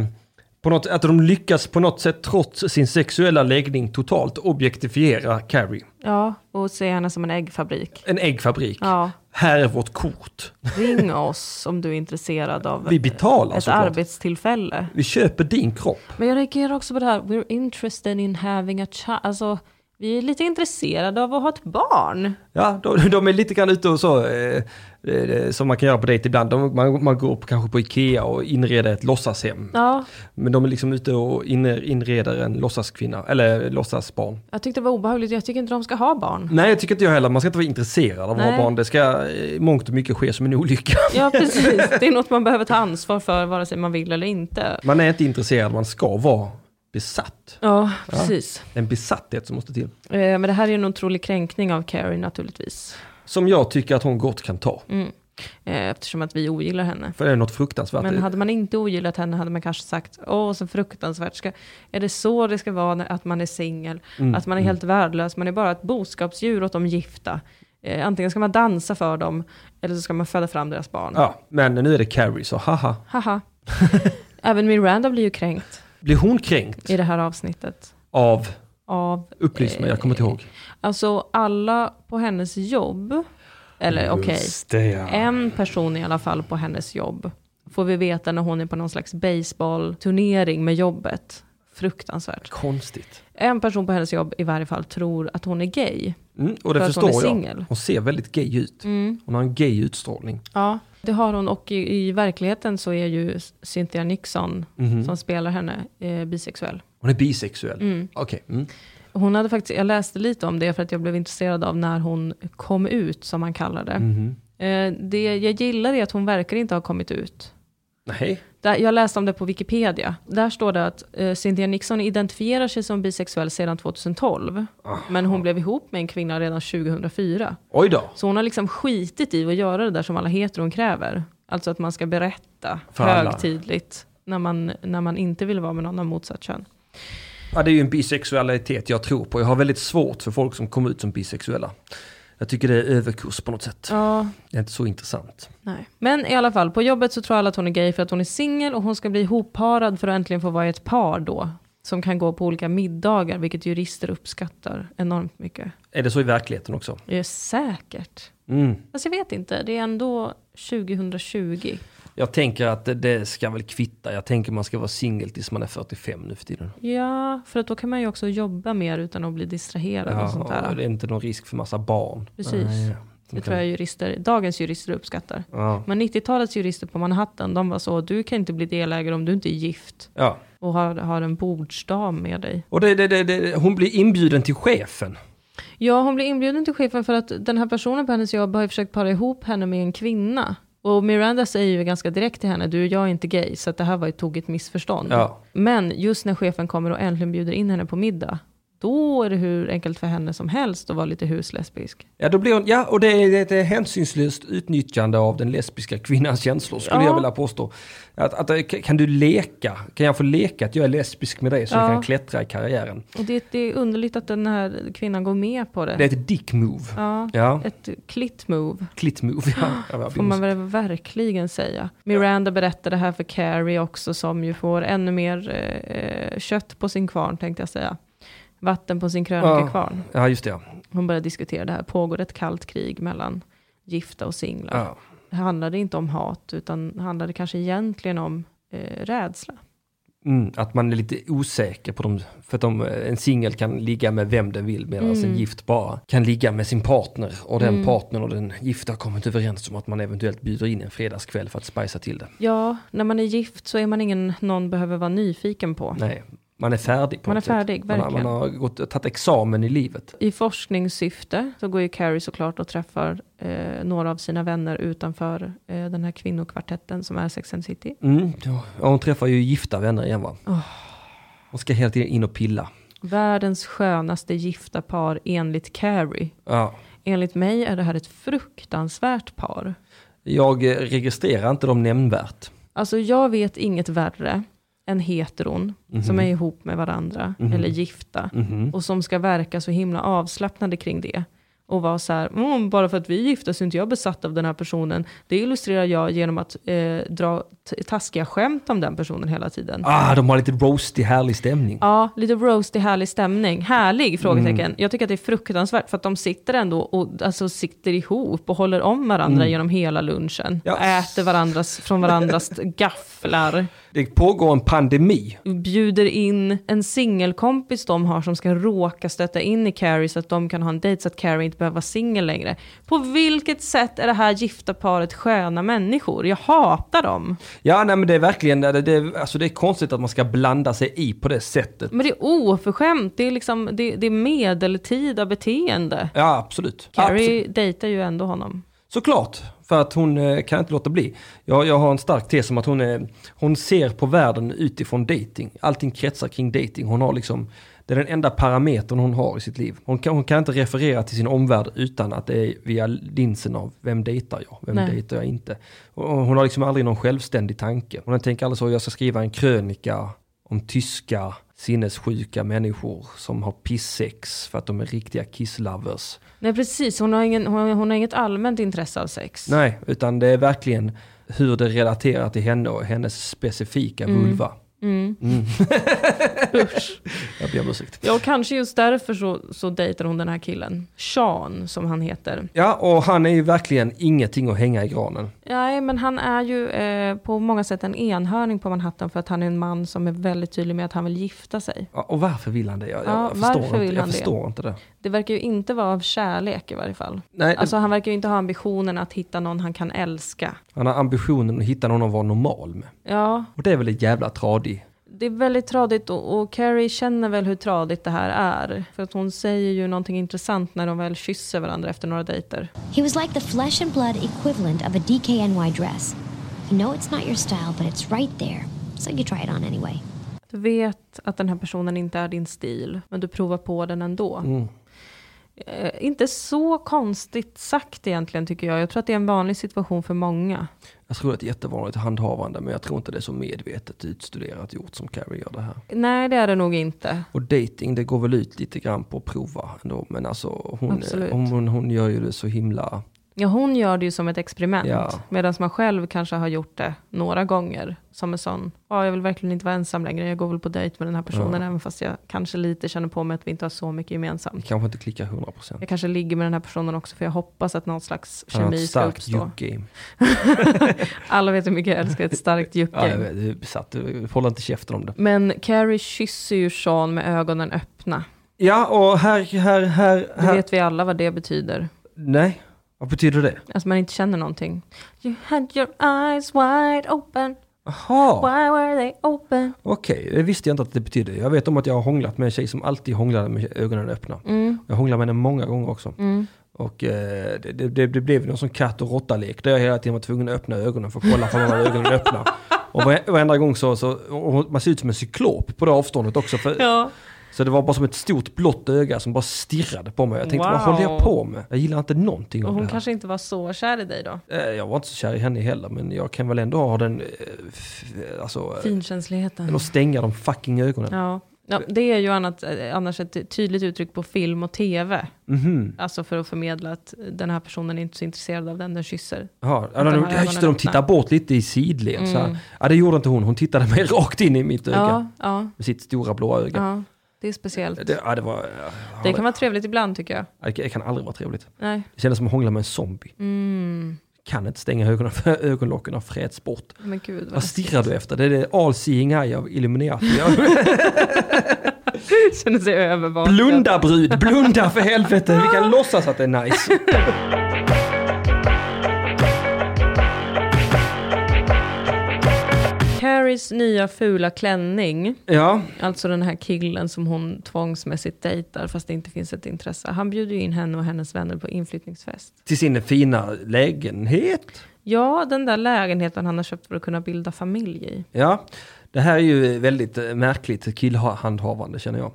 på något, att de lyckas på något sätt trots sin sexuella läggning totalt objektifiera Carrie.
Ja, och se henne som en äggfabrik.
En äggfabrik.
Ja.
Här är vårt kort.
Ring oss om du är intresserad av
Vi betalar
ett
såklart.
arbetstillfälle.
Vi köper din kropp.
Men jag reagerar också på det här, we're interested in having a child. Alltså, vi är lite intresserade av att ha ett barn.
Ja, de, de är lite grann ute och så eh, eh, som man kan göra på dejt ibland. De, man, man går på, kanske på Ikea och inreder ett låtsashem.
Ja,
Men de är liksom ute och inre- inreder en låtsaskvinna, eller låtsasbarn.
jag tyckte det var obehagligt. Jag tycker inte de ska ha barn.
Nej, jag tycker inte jag heller. Man ska inte vara intresserad av att
Nej.
ha barn. Det ska i mångt och mycket ske som en olycka.
Ja, precis. Det är något man behöver ta ansvar för, vare sig man vill eller inte.
Man är inte intresserad, man ska vara besatt.
Ja, precis.
En besatthet som måste till.
Eh, Men det här är ju en otrolig kränkning av Carrie naturligtvis.
Som jag tycker att hon gott kan
Mm.
ta.
Eh, Eftersom att vi ogillar henne.
För det är något fruktansvärt.
Men hade man inte ogillat henne hade man kanske sagt, åh så fruktansvärt, ska, är det så det ska vara när, att man är singel?
Mm,
Att man är helt värdelös, man är bara ett boskapsdjur åt de gifta. Eh, antingen ska man dansa för dem, eller så ska man föda fram deras barn.
Ja, men nu är det Carrie, så haha.
Haha. Även Miranda blir ju kränkt
Blir hon kränkt
i det här avsnittet.
av,
Av,
upplys mig, jag kommer inte ihåg.
alltså alla på hennes jobb, eller Eh, okej,
det ja.
en person i alla fall på hennes jobb får vi veta när hon är på någon slags baseballturnering med jobbet. Fruktansvärt.
Konstigt.
En person på hennes jobb i varje fall tror att hon är gay.
Mm, och det
För att
förstår
hon är
jag.
singel. Mm.
Hon ser väldigt gay ut. Hon har en gay utstrålning.
Ja. Det har hon och i, i verkligheten så är ju Cynthia Nixon som spelar henne eh, bisexuell.
Hon är bisexuell. Okej. Mm.
Hon hade faktiskt, jag läste lite om det för att jag blev intresserad av när hon kom ut som man kallar det. Eh, det jag gillar är att hon verkar inte ha kommit ut.
Nej.
Där, jag läste om det på Wikipedia. Där står det att eh, Cynthia Nixon identifierar sig som bisexuell sedan 2012. Men hon blev ihop med en kvinna redan 2004.
Oj då.
Så hon har liksom skitit i att göra det där som alla heteron kräver. Alltså att man ska berätta
För alla.
högtidligt när man, när man inte vill vara med någon av motsatt kön.
Ja, det är ju en bisexualitet jag tror på. Jag har väldigt svårt för folk som kommer ut som bisexuella. Jag tycker det är överkurs på något sätt.
Ja,
Det är inte så intressant.
Nej. Men i alla fall, på jobbet så tror alla att hon är gay för att hon är singel och hon ska bli ihopparad för att äntligen få vara i ett par då. Som kan gå på olika middagar, vilket jurister uppskattar enormt mycket.
Är det så i verkligheten också?
Det är säkert.
Mm.
Fast jag vet inte, det är ändå 2020.
Jag tänker att det- det ska väl kvitta. Jag tänker man ska vara singel tills man är 45 nu för tiden.
Ja, för att då kan man ju också jobba mer utan att bli distraherad och sånt
Ja,
där.
och det är inte någon risk för massa barn.
Precis.
Nej, de
Det
kan-
tror jag jurister, dagens jurister uppskattar.
Ja.
Men 90-talets jurister på Manhattan, de var så, du kan inte bli delägare om du inte är gift
ja.
och har, har en bordsdam med dig.
Och det, det, det, det, hon blir inbjuden till chefen.
Ja, hon blev inbjuden till chefen för att den här personen på hennes jobb har ju försökt para ihop henne med en kvinna. Och Miranda säger ju ganska direkt till henne, du jag är inte gay, så att det här var ett tokigt missförstånd.
Ja.
Men just när chefen kommer och äntligen bjuder in henne på middag, då är det hur enkelt för henne som helst att vara lite huslesbisk.
Ja, då blir hon, ja och det är det är ett hänsynslöst utnyttjande av den lesbiska kvinnans känslor skulle
Ja.
jag vilja påstå. Att, att, eh, kan du leka? Kan jag få leka att jag är lesbisk med dig så jag
Ja.
kan klättra i karriären?
Och det, det är underligt att den här kvinnan går med på det.
Det är ett dick move.
Ja,
Ja.
Ett clit move.
Clit move, ja. ja. jag
Får man väl verkligen säga. Miranda berättar det här för Carrie också som ju får ännu mer eh, eh, kött på sin kvarn tänkte jag säga. Vatten på sin krönikakvarn.
Ja, just det. ja.
Hon börjar diskutera det här. Pågår ett kallt krig mellan gifta och singlar?
Ja.
Det handlade inte om hat utan handlade kanske egentligen om eh, rädsla.
Mm, att man är lite osäker på dem. För att de, eh, en singel kan ligga med vem den vill medan
Mm.
en gift bara kan ligga med sin partner. Och den partnern och den gifta har kommit överens om att man eventuellt bjuder in en fredagskväll för att spicea till det.
Ja, när man är gift så är man ingen någon behöver vara nyfiken på.
Nej, man är färdig. På
Man
något
är
sätt.
färdig,
man, har- man
verkligen.
har gått, tagit examen i livet.
I forskningssyfte så går ju Carrie såklart och träffar eh, några av sina vänner utanför eh, den här kvinnokvartetten som är Sex and the City.
Mm, ja, och hon träffar ju gifta vänner igen va? Hon ska hela tiden in och pilla.
Världens skönaste gifta par enligt Carrie.
Ja.
Enligt mig är det här ett fruktansvärt par.
Jag eh, registrerar inte dem nämnvärt.
Alltså jag vet inget värre än heteron som är ihop med varandra eller gifta och som ska verka så himla avslappnade kring det. Och vara så här, mm, bara för att vi är gifta så är inte jag besatt av den här personen. Det illustrerar jag genom att eh, dra t- taskiga skämt om den personen hela tiden.
Ah, de har lite roasty härlig stämning.
Ja, lite roasty, härlig stämning. Härlig? frågetecken. Jag tycker att det är fruktansvärt för att de sitter ändå och alltså, sitter ihop och håller om varandra genom hela lunchen.
Ja.
Och äter varandras, från varandras gafflar.
Det pågår en pandemi.
bjuder in en singelkompis de har som ska råka stöta in i Carrie så att de kan ha en dejt så att Carrie inte behöver vara singel längre. På vilket sätt är det här gifta paret sköna människor? Jag hatar dem.
Ja, nej men det är verkligen, det, det, alltså det är konstigt att man ska blanda sig i på det sättet.
Men det är oförskämt, det är, liksom, det, det är medeltida beteende.
Ja, absolut.
Carrie
absolut.
dejtar ju ändå honom.
Såklart, för att hon eh, kan inte låta bli. Jag, jag har en stark tes om att hon, är, hon ser på världen utifrån dating. Allting kretsar kring dating. Hon har liksom, det är den enda parametern hon har i sitt liv. Hon kan, hon kan inte referera till sin omvärld utan att det är via linsen av vem dejtar jag, vem
Nej.
dejtar jag inte. Och, och hon har liksom aldrig någon självständig tanke. Hon tänker aldrig så, jag ska skriva en krönika om tyska sinnessjuka människor som har pissex för att de är riktiga kisslovers.
Nej precis, hon har, ingen, hon, hon har inget allmänt intresse av sex.
Nej, utan det är verkligen hur det relaterar till henne och hennes specifika vulva. Mm. jag ber om ursäkt.
Ja, och kanske just därför så, så dejtar hon den här killen. Sean, som han heter.
Ja, och han är ju verkligen ingenting att hänga i granen.
Nej, men han är ju eh, på många sätt en enhörning på Manhattan för att han är en man som är väldigt tydlig med att han vill gifta sig.
Ja, Och varför vill han det? Jag,
Ja,
jag förstår,
varför
inte,
vill
jag
han det?
förstår inte det.
Det verkar ju inte vara av kärlek i varje fall.
Nej, det-
Alltså han verkar ju inte ha ambitionen att hitta någon han kan älska.
Han har ambitionen att hitta någon att vara normal med.
Ja,
Och det är väl ett jävla tradig.
det är väldigt tradigt och, och Carrie känner väl hur tradigt det här är. För att hon säger ju någonting intressant när de väl kysser varandra efter några dejter.
He was like the flesh and blood equivalent of a DKNY dress. You know it's not your style, but it's right there, so you try it on anyway.
Du vet att den här personen inte är din stil, men du provar på den ändå.
Mm.
Eh, inte så konstigt sagt egentligen tycker jag. Jag tror att det är en vanlig situation för många.
Jag tror att det är ett jättevanligt handhavande, men jag tror inte det är så medvetet utstuderat gjort som Carrie gör det här.
Nej, det är det nog inte.
Och dating, det går väl ut lite grann på att prova ändå. Men alltså hon,
Absolut.
hon, hon, hon gör ju det så himla...
Ja, hon gör det ju som ett experiment,
Ja.
medan man själv kanske har gjort det några gånger. Som en sån, ja, jag vill verkligen inte vara ensam längre, jag går väl på dejt med den här personen, även fast jag kanske lite känner på mig att vi inte har så mycket
Det
gemensamt.
kanske inte klickar 100%.
Jag kanske ligger med den här personen också, för jag hoppas att någon slags
Han har
kemi
ett
ska
starkt
uppstå.
juke-game.
Alla vet hur mycket jag älskar ett starkt
Ja,
jucke.
jag vet, du är besatt. Du håller inte käften om det.
Men Carrie kysser ju Sean med ögonen öppna.
Ja, och här... här, här,
Det
här.
vet vi alla vad det betyder.
Nej, vad betyder det?
Att man inte känner någonting. You had your eyes wide open,
Jaha,
why were they open?
okej. Det visste jag inte att det betydde. Jag vet om att jag har hånglat med en tjej som alltid hånglade med ögonen öppna.
Mm.
Jag hånglade med henne många gånger också. Och eh, det, det, det blev någon sån katt och råtta-lek där jag hela tiden var tvungen att öppna ögonen för att kolla om hon hade ögonen öppna. Och vare- varenda gång så, så och hon- man ser ut som en cyklop på det avståndet också. För,
Ja.
Så det var bara som ett stort blått öga som bara stirrade på mig. Jag tänkte, vad
Wow.
håller jag på med? Jag gillar inte någonting
Och
av det
hon
här.
kanske inte var så kär i dig då.
Eh, Jag var inte så kär i henne heller, men jag kan väl ändå ha den, eh, f- alltså, eh,
Finkänsligheten.
eller stänga de fucking ögonen.
Ja. Ja, det är ju annat, eh, annars ett tydligt uttryck på film och tv.
Mhm.
Alltså för att förmedla att den här personen är inte så intresserad av den den kysser.
Ja,
de
de,
har
ja, just det,
ögonen
de
öppna.
tittar bort lite i sidled. Så här. Ja, det gjorde inte hon. Hon tittade mig rakt in i mitt öga.
Mm. Ja, ja,
Med sitt stora blåa öga.
ja. Det är speciellt.
Det, ja, det var... ja,
Det kan vara trevligt ibland tycker jag.
det- det kan aldrig vara trevligt.
Nej.
Det kändes som att hångla med en zombie.
Mm.
Kan inte stänga ögonen för ögonlocken har fräts bort.
Men gud vad
Vad stirrar du efter? Det är det all seeing eye av Illuminati. Jag-
känner sig övervakad.
Blunda brud, blunda för helvete. Vi kan låtsas att det är nice.
Carries nya fula klänning,
Ja,
alltså den här killen som hon tvångsmässigt dejtar fast det inte finns ett intresse. Han bjuder ju in henne och hennes vänner på inflyttningsfest.
till sin fina lägenhet.
Ja, den där lägenheten han har köpt för att kunna bilda familj i.
Ja, det här är ju väldigt eh, märkligt killhandhavande känner jag.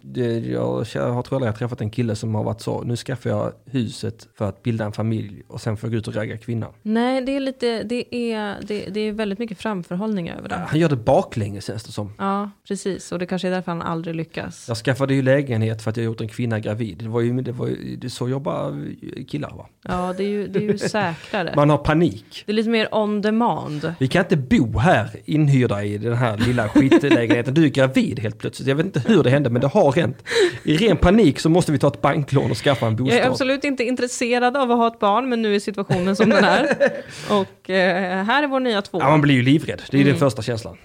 Det, jag, kä- jag tror aldrig jag har träffat en kille som har varit så, nu skaffar jag huset för att bilda en familj och sen får jag gå ut och ragga kvinnan.
Nej, det är, lite, det är, det, det är väldigt mycket framförhållning över det.
Han gör det baklänges känns det som.
Ja, precis. Och det kanske är därför han aldrig lyckas.
Jag skaffade ju lägenhet för att jag gjort en kvinna gravid. Det var ju, det var ju det är så jobbar killar va?
Ja, det är ju, det är ju säkrare.
Man har panik.
Det är lite mer on demand.
Vi kan inte bo här inhyrda i den här lilla skitlägenheten. Du är gravid helt plötsligt. Jag vet inte hur det hände, men det har hänt. I ren panik så måste vi ta ett banklån och skaffa en
Jag
bostad.
är absolut inte intresserad av att ha ett barn, men nu är situationen som den är. Och eh, här är vår nya tvåa.
Ja, man blir ju livrädd. Det är
Mm.
den första känslan.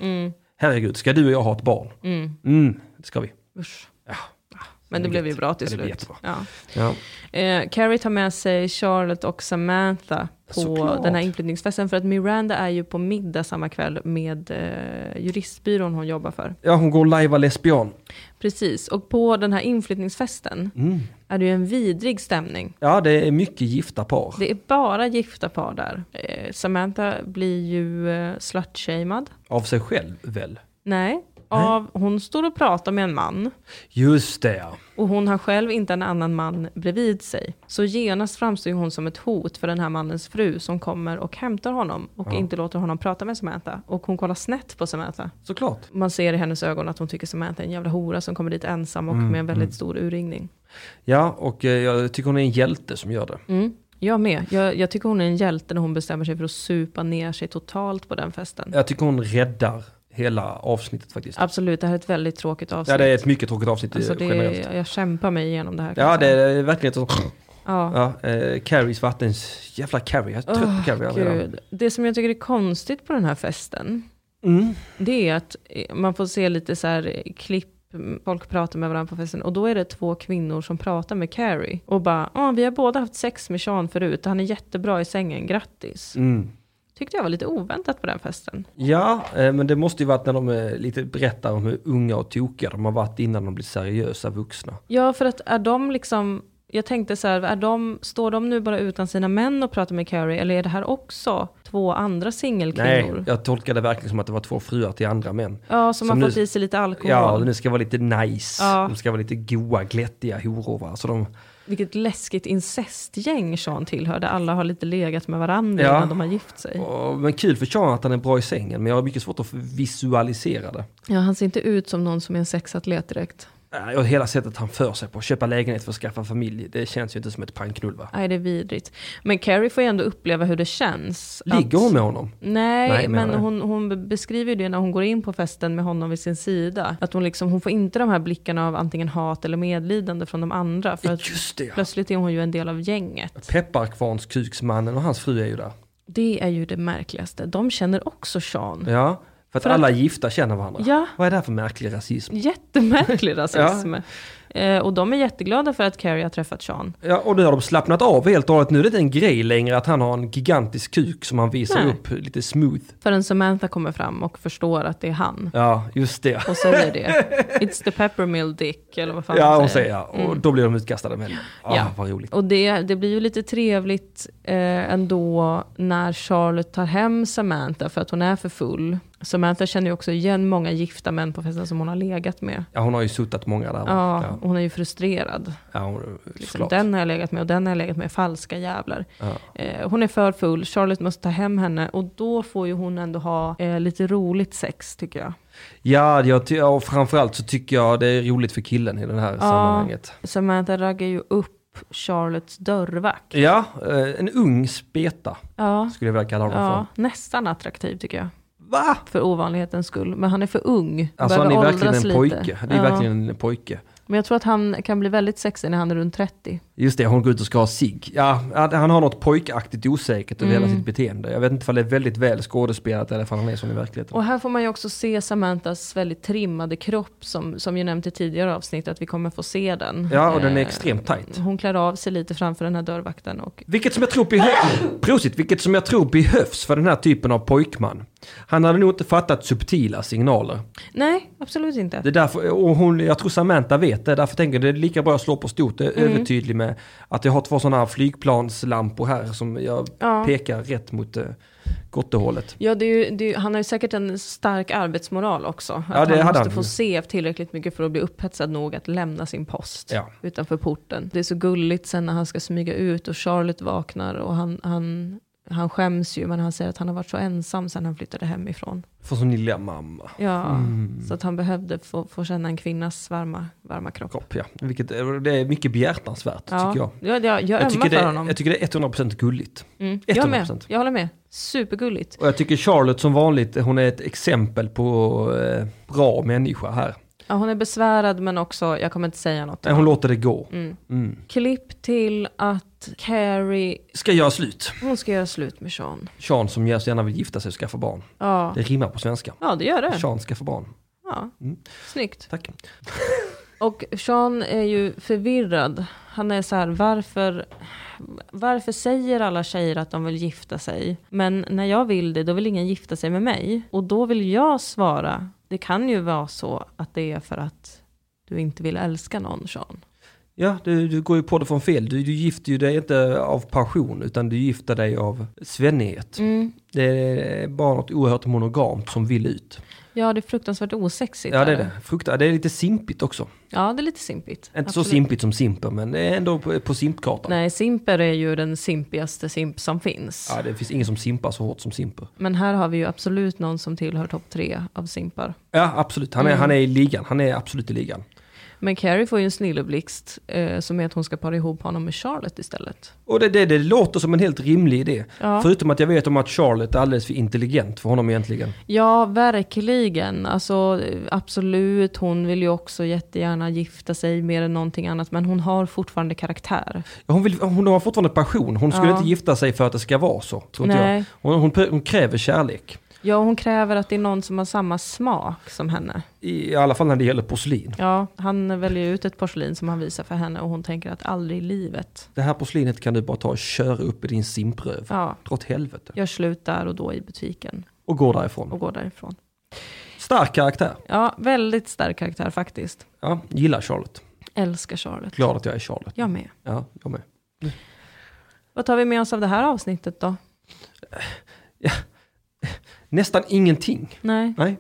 Herregud, ska du och jag ha ett barn? Mm, det ska vi.
Usch.
Ja.
Men det
Det
blev ju
blir
bra till
jätte- det blir
slut.
jättebra.
Ja.
Ja.
Eh, Carrie tar med sig Charlotte och Samantha på
Såklart.
den här inflyttningsfesten för att Miranda är ju på middag samma kväll med eh, juristbyrån hon jobbar för.
ja, hon går lajva lesbian.
Precis, och på den här inflyttningsfesten är det ju en vidrig stämning.
Ja, det är mycket gifta par.
Det är bara gifta par där. Eh, Samantha blir ju eh, slutshamed.
Av sig själv väl?
Nej, av, hon står och pratar med en man.
Just det ja.
Och hon har själv inte en annan man bredvid sig. Så genast framstår ju hon som ett hot för den här mannens fru som kommer och hämtar honom och inte låter honom prata med Samantha. Och hon kollar snett på Samantha.
Såklart.
Man ser i hennes ögon att hon tycker Samantha är en jävla hora som kommer dit ensam
Mm,
och med en väldigt stor urringning.
Ja, och eh, jag tycker hon är en hjälte som gör det.
Mm. Jag med. Jag, jag tycker hon är en hjälte när hon bestämmer sig för att supa ner sig totalt på den festen.
Jag tycker hon räddar hela avsnittet faktiskt.
Absolut, det här är ett väldigt tråkigt avsnitt.
Ja, det är ett mycket tråkigt avsnitt eh,
alltså det,
generellt.
jag kämpar mig igenom det här. kan
Ja,
jag
det
säga.
är verkligen så.
Ja.
Ja, eh, Carries vattens... Jävla Carrie, jag är trött på Carrie redan.
Gud. Det som jag tycker är konstigt på den här festen,
Mm.
det är att eh, man får se lite så här eh, klipp, mm, folk pratar med varandra på festen och då är det två kvinnor som pratar med Carrie och bara, ja vi har båda haft sex med Sean förut, han är jättebra i sängen, grattis.
Mm.
Tyckte jag var lite oväntat på den festen.
Ja, eh, men det måste ju varit när de eh, lite berättar om hur unga och tokiga de har varit innan de blir seriösa vuxna.
Ja, för att är de liksom, jag tänkte så här, är de, står de nu bara utan sina män och pratar med Carrie eller är det här också två andra
Nej,
singelkvinnor?
jag tolkade det verkligen som att det var två fruar till andra män.
Ja, som,
Som
har
nu-
fått i sig lite alkohol.
Ja, de ska vara lite nice.
Ja.
De ska vara lite goa, glättiga horor. va. Så de,
Vilket läskigt incestgäng Sean tillhör, där alla har lite legat med varandra
Ja.
innan de har gift sig.
Åh, men kul för Sean att han är bra i sängen, men jag har mycket svårt att visualisera det.
Ja, han ser inte ut som någon som är en sexatlet direkt.
Äh, Och hela sättet han för sig på, köpa lägenhet för att skaffa familj, det känns ju inte som ett pangknull va?
Nej, det är vidrigt. Men Carrie får ju ändå uppleva hur det känns.
Ligger
att...
hon med honom?
Nej,
Nej, menar
men
jag.
hon, hon beskriver ju det när hon går in på festen med honom vid sin sida. Att hon, liksom, hon får inte de här blickarna av antingen hat eller medlidande från de andra. För att
Just det ja.
plötsligt är hon ju en del av gänget.
Pepparkvarnskuksmannen och hans fru är ju där.
Det är ju det märkligaste. De känner också Sean.
Ja, för att
För att-
alla gifta känner varandra.
Ja.
Vad är det här för märklig rasism?
Jättemärklig rasism. eh, och de är jätteglada för att Carrie har träffat Sean.
Ja, och nu har de slappnat av helt och hållet. Nu är det inte en grej längre att han har en gigantisk kuk som han visar
Nej.
upp lite smooth.
Förrän Samantha kommer fram och förstår att det är han.
Ja, just det.
Och säger det. It's the peppermill dick, eller vad fan
Ja, hon
hon
säger ja. Och då blir de utkastade med henne. Ah,
Ja.
Vad roligt.
Och det, det blir ju lite trevligt eh, ändå när Charlotte tar hem Samantha för att hon är för full. Samantha känner ju också igen många gifta män på festen som hon har legat med.
Ja, hon har ju suttat många där. va?
Ja,
ja.
och hon är ju frustrerad.
ja hon,
Liksom,
såklart.
den har jag legat med och den har jag legat med, falska jävlar. Eh, hon är för full, Charlotte måste ta hem henne och då får ju hon ändå ha eh, lite roligt sex tycker jag.
Ja, jag ty- ja, och framförallt så tycker jag det är roligt för killen i det här sammanhanget.
Samantha raggar ju upp Charlottes dörrvakt.
Ja, eh, en ung speta
Ja,
skulle jag vilja kalla honom
ja
för.
nästan attraktiv tycker jag.
Va?
För ovanlighetens skull. Men han är för ung.
Alltså han
Behöver
är verkligen
åldras
en
lite.
pojke. Det är
ja.
verkligen en pojke.
Men jag tror att han kan bli väldigt sexig när han är runt 30.
Just det, hon går ut och ska ha sig. Ja, att han har något pojkaktigt osäkert över
Mm.
hela sitt beteende. Jag vet inte om det är väldigt väl skådespelat eller om han är som i verkligheten.
Och här får man ju också se Samanthas väldigt trimmade kropp som, som ju nämnt i tidigare avsnitt att vi kommer få se den.
Ja, och den är
Eh,
extremt tajt.
Hon klär av sig lite framför den här dörrvakten och
Vilket som jag tror behövs, prosit, vilket som jag tror behövs för den här typen av pojkman. Han hade nog inte fattat subtila signaler.
Nej, absolut inte.
Det är därför, och hon, jag tror Samantha vet det, därför tänker jag det är lika bra att slå på stort. Jag är
Mm.
övertydlig med att jag har två sådana här flygplanslampor här som jag
Ja.
pekar rätt mot eh, gottehållet.
Ja, det är ju, det är, ju- han har ju säkert en stark arbetsmoral också. Att
Ja, det
han
hade
måste
han.
få se tillräckligt mycket för att bli upphetsad nog att lämna sin post
Ja.
utanför porten. Det är så gulligt sen när han ska smyga ut och Charlotte vaknar och han, han Han skäms ju men han säger att han har varit så ensam sedan han flyttade hemifrån.
För sin lilla mamma.
Ja,
Mm.
så att han behövde få, få känna en kvinnas varma, varma kropp.
Kropp, ja. Vilket, är- det är mycket behjärtansvärt tycker jag.
Ja, jag, jag,
Jag
ömmar
tycker, det,
för honom.
jag tycker det är 100% gulligt.
Mm.
100%.
Jag med, jag håller med. Supergulligt.
Och jag tycker Charlotte som vanligt, hon är ett exempel på eh, bra människa här.
Ja, hon är besvärad men också, jag kommer inte säga något.
Nej, Hon låter det gå. Mm.
Klipp till att Carrie,
Ska göra slut.
hon ska göra slut med Sean.
Sean som gärna- så gärna vill gifta sig och skaffa barn.
Ja,
Det rimmar på svenska.
ja det gör det.
Sean Mm. skaffa barn.
Ja. Snyggt.
Tack.
Och Sean är ju förvirrad. Han är så här, varför, varför säger alla tjejer att de vill gifta sig? Men när jag vill det, då vill ingen gifta sig med mig. Och då vill jag svara, det kan ju vara så att det är för att du inte vill älska någon Sean.
Ja, du, du går ju på det från fel. Du, du gifter ju dig inte av passion utan du gifter dig av svennighet.
Mm.
Det är bara något oerhört monogamt som vill ut.
Ja, det är fruktansvärt osexigt.
Ja, det är
är
det. Fruktar. Det är lite simpigt också.
Ja, det är lite simpigt.
Inte så
Absolut.
simpigt som simper, men det är ändå på, på simpkartan.
Nej, simper är ju den simpigaste simp som finns.
Ja, det finns ingen som simpar så hårt som simper.
Men här har vi ju absolut någon som tillhör topp tre av simpar.
Ja, absolut.
Mm.
Han är, han är i ligan. Han är absolut i ligan.
Men Carrie får ju en snilleblixt eh, som är att hon ska para ihop honom med Charlotte istället.
Och det, det, det låter som en helt rimlig idé.
Ja.
Förutom att jag vet om att Charlotte är alldeles för intelligent för honom egentligen.
Ja, verkligen. Alltså, eh, absolut, hon vill ju också jättegärna gifta sig mer än någonting annat. Men hon har fortfarande karaktär.
Hon, vill, hon har fortfarande passion. Hon skulle
Ja.
inte gifta sig för att det ska vara så. Tror inte
Nej.
jag. Hon, hon, hon kräver kärlek.
Ja, hon kräver att det är någon som har samma smak som henne.
I alla fall när det gäller porslin.
Ja, han väljer ut ett porslin som han visar för henne och hon tänker att aldrig i livet.
Det här porslinet kan du bara ta och köra upp i din simpröv.
Ja,
Dra åt helvete.
gör slut där och då i butiken
Och går därifrån.
och går därifrån.
Stark karaktär.
Ja, väldigt stark karaktär faktiskt.
Ja, gillar Charlotte.
Älskar Charlotte.
Glad att jag är Charlotte.
Jag med.
Ja, jag med.
Vad tar vi med oss av det här avsnittet då?
Nästan ingenting.
Nej,
Nej,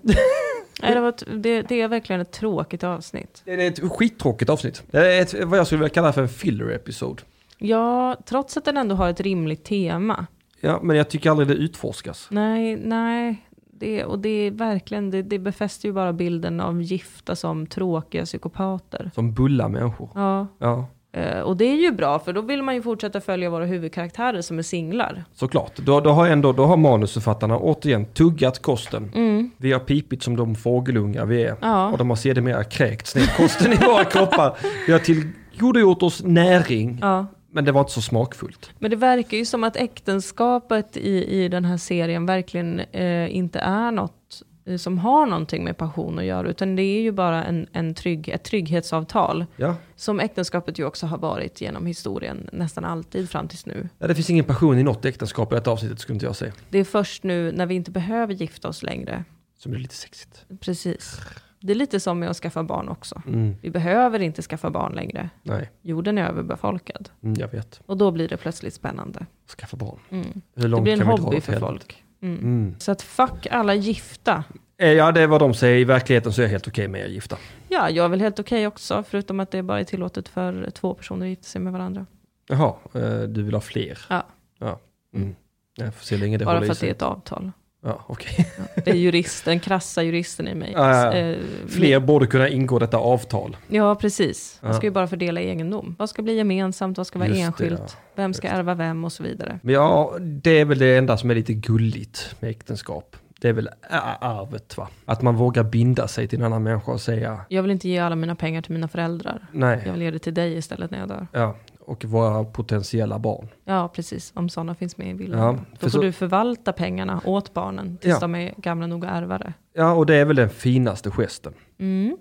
Nej det, var ett, det, det är verkligen ett tråkigt avsnitt.
det är ett skittråkigt avsnitt. Det är ett, vad jag skulle vilja kalla för en filler episode.
Ja, trots att den ändå har ett rimligt tema.
Ja, men jag tycker aldrig det utforskas.
Nej, nej. Det, och det är verkligen, det, det befäster ju bara bilden av gifta som tråkiga psykopater.
Som bulla människor.
Ja,
Ja,
eh, och det är ju bra för då vill man ju fortsätta följa våra huvudkaraktärer som är singlar.
såklart. Då, då, har ändå, då har manusförfattarna återigen tuggat kosten. Vi har pipit som de fågelungar vi är.
Mm. Ja.
Och de har sedermera kräkts ner kosten i våra kroppar. Vi har tillgodogjort oss näring.
Ja.
Men det var inte så smakfullt.
Men det verkar ju som att äktenskapet i, i den här serien verkligen eh, inte är något eh, som har någonting med passion att göra, utan det är ju bara en, en trygg, ett trygghetsavtal.
Ja.
Som äktenskapet ju också har varit genom historien nästan alltid fram tills nu.
Ja, det finns ingen passion i något äktenskap i detta avsnittet skulle inte jag säga.
Det är först nu när vi inte behöver gifta oss längre.
Som är lite sexigt.
Precis. Det är lite som med att skaffa barn också.
Mm,
Vi behöver inte skaffa barn längre.
nej,
Jorden är överbefolkad.
mm, jag vet.
Och då blir det plötsligt spännande.
Skaffa barn.
Mm.
Hur
Det
långt
blir en
kan vi dra
hobby
åt
för
helvete?
folk. Mm.
Mm.
Så att fuck alla gifta.
Eh, Ja, det är vad de säger. I verkligheten så är jag helt okej med att gifta.
Ja, jag är väl helt okej också, förutom att det bara är tillåtet för två personer att gifta sig med varandra.
Jaha, eh, du vill ha fler?
Ja.
ja. Mm. Jag får se hur länge det
bara
håller
för
i
att det är
sig.
ett avtal.
Ja, okej.
Det är jurist, den krassa juristen i mig.
Ja, ja, ja.
Eh,
Fler borde kunna ingå detta avtal.
Ja, precis. Man
Ja.
ska ju bara fördela egendom. Vad ska bli gemensamt, vad ska vara
Just det,
enskilt,
ja.
vem ska ärva vem och så vidare.
Men ja, det är väl det enda som är lite gulligt med äktenskap. Det är väl ä- arvet va? Att man vågar binda sig till en annan människa och säga
Jag vill inte ge alla mina pengar till mina föräldrar. Jag
nej.
vill ge det till dig istället när jag dör.
Ja, och våra potentiella barn.
Ja, precis. Om sådana finns med i bilden.
Ja,
Då
för
får
så-
du förvalta pengarna åt barnen tills
Ja.
de är gamla nog att ärva det.
Ja, och det är väl den finaste gesten.
Mm.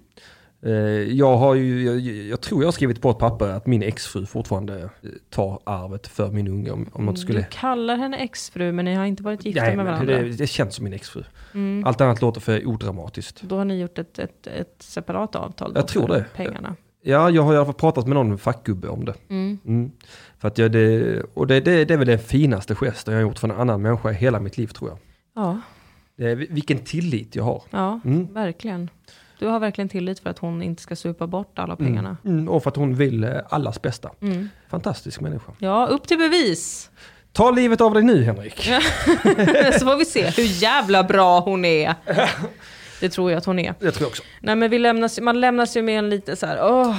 Eh, Jag, har ju, jag, jag tror jag har skrivit på ett papper att min exfru fortfarande eh, tar arvet för min unge om, om något skulle...
Du kallar henne exfru, men ni har inte varit Mm. gifta
Nej,
med
men
varandra. Mm.
det, det känns som min exfru. Allt annat låter för odramatiskt.
Då har ni gjort ett, ett, ett separat avtal? då
Jag tror
för
det.
Pengarna.
Ja, jag har i alla fall pratat med någon fackgubbe om det. Mm. För att jag, det och det, det, det är väl den finaste gesten jag har gjort för en annan människa i hela mitt liv tror jag.
Ja,
Det är, vilken tillit jag har.
ja
Mm.
verkligen. Du har verkligen tillit för att hon inte ska supa bort alla pengarna. Mm.
Mm, och för att hon vill eh, allas bästa. Fantastisk människa.
Ja, upp till bevis!
Ta livet av dig nu Henrik.
Så får vi se hur jävla bra hon är. Det tror jag att hon är.
Det tror jag också.
Nej men vi lämnas, man lämnas ju med en lite så här, åh,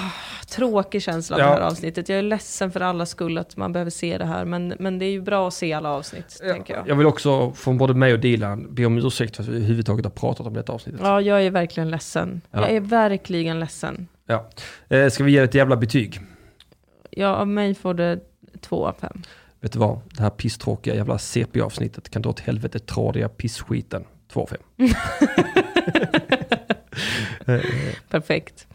tråkig känsla av
Ja.
det här avsnittet. Jag är ledsen för alla skull att man behöver se det här, men, men det är ju bra att se alla avsnitt, tänker jag.
Jag vill också från både mig och Dilan be om ursäkt för att vi överhuvudtaget har pratat om detta avsnittet.
Ja, jag är verkligen ledsen.
Ja.
Jag är verkligen ledsen.
Ja. Eh, ska vi ge det ett jävla betyg?
Ja, av mig får det två av fem.
Vet du vad? Det här pisstråkiga jävla CP-avsnittet kan dra åt helvete tradiga pissskiten. 2 av 5.
Perfekt.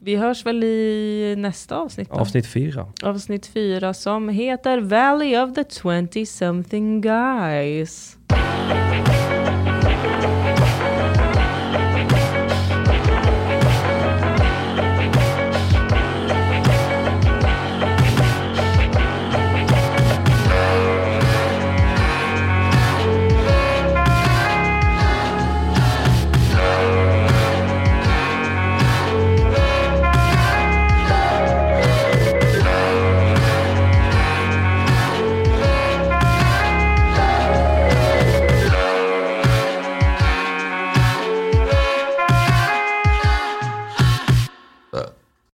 Vi hörs väl i nästa avsnitt då?
Avsnitt 4.
Avsnitt fyra som heter Valley of the 20 something guys.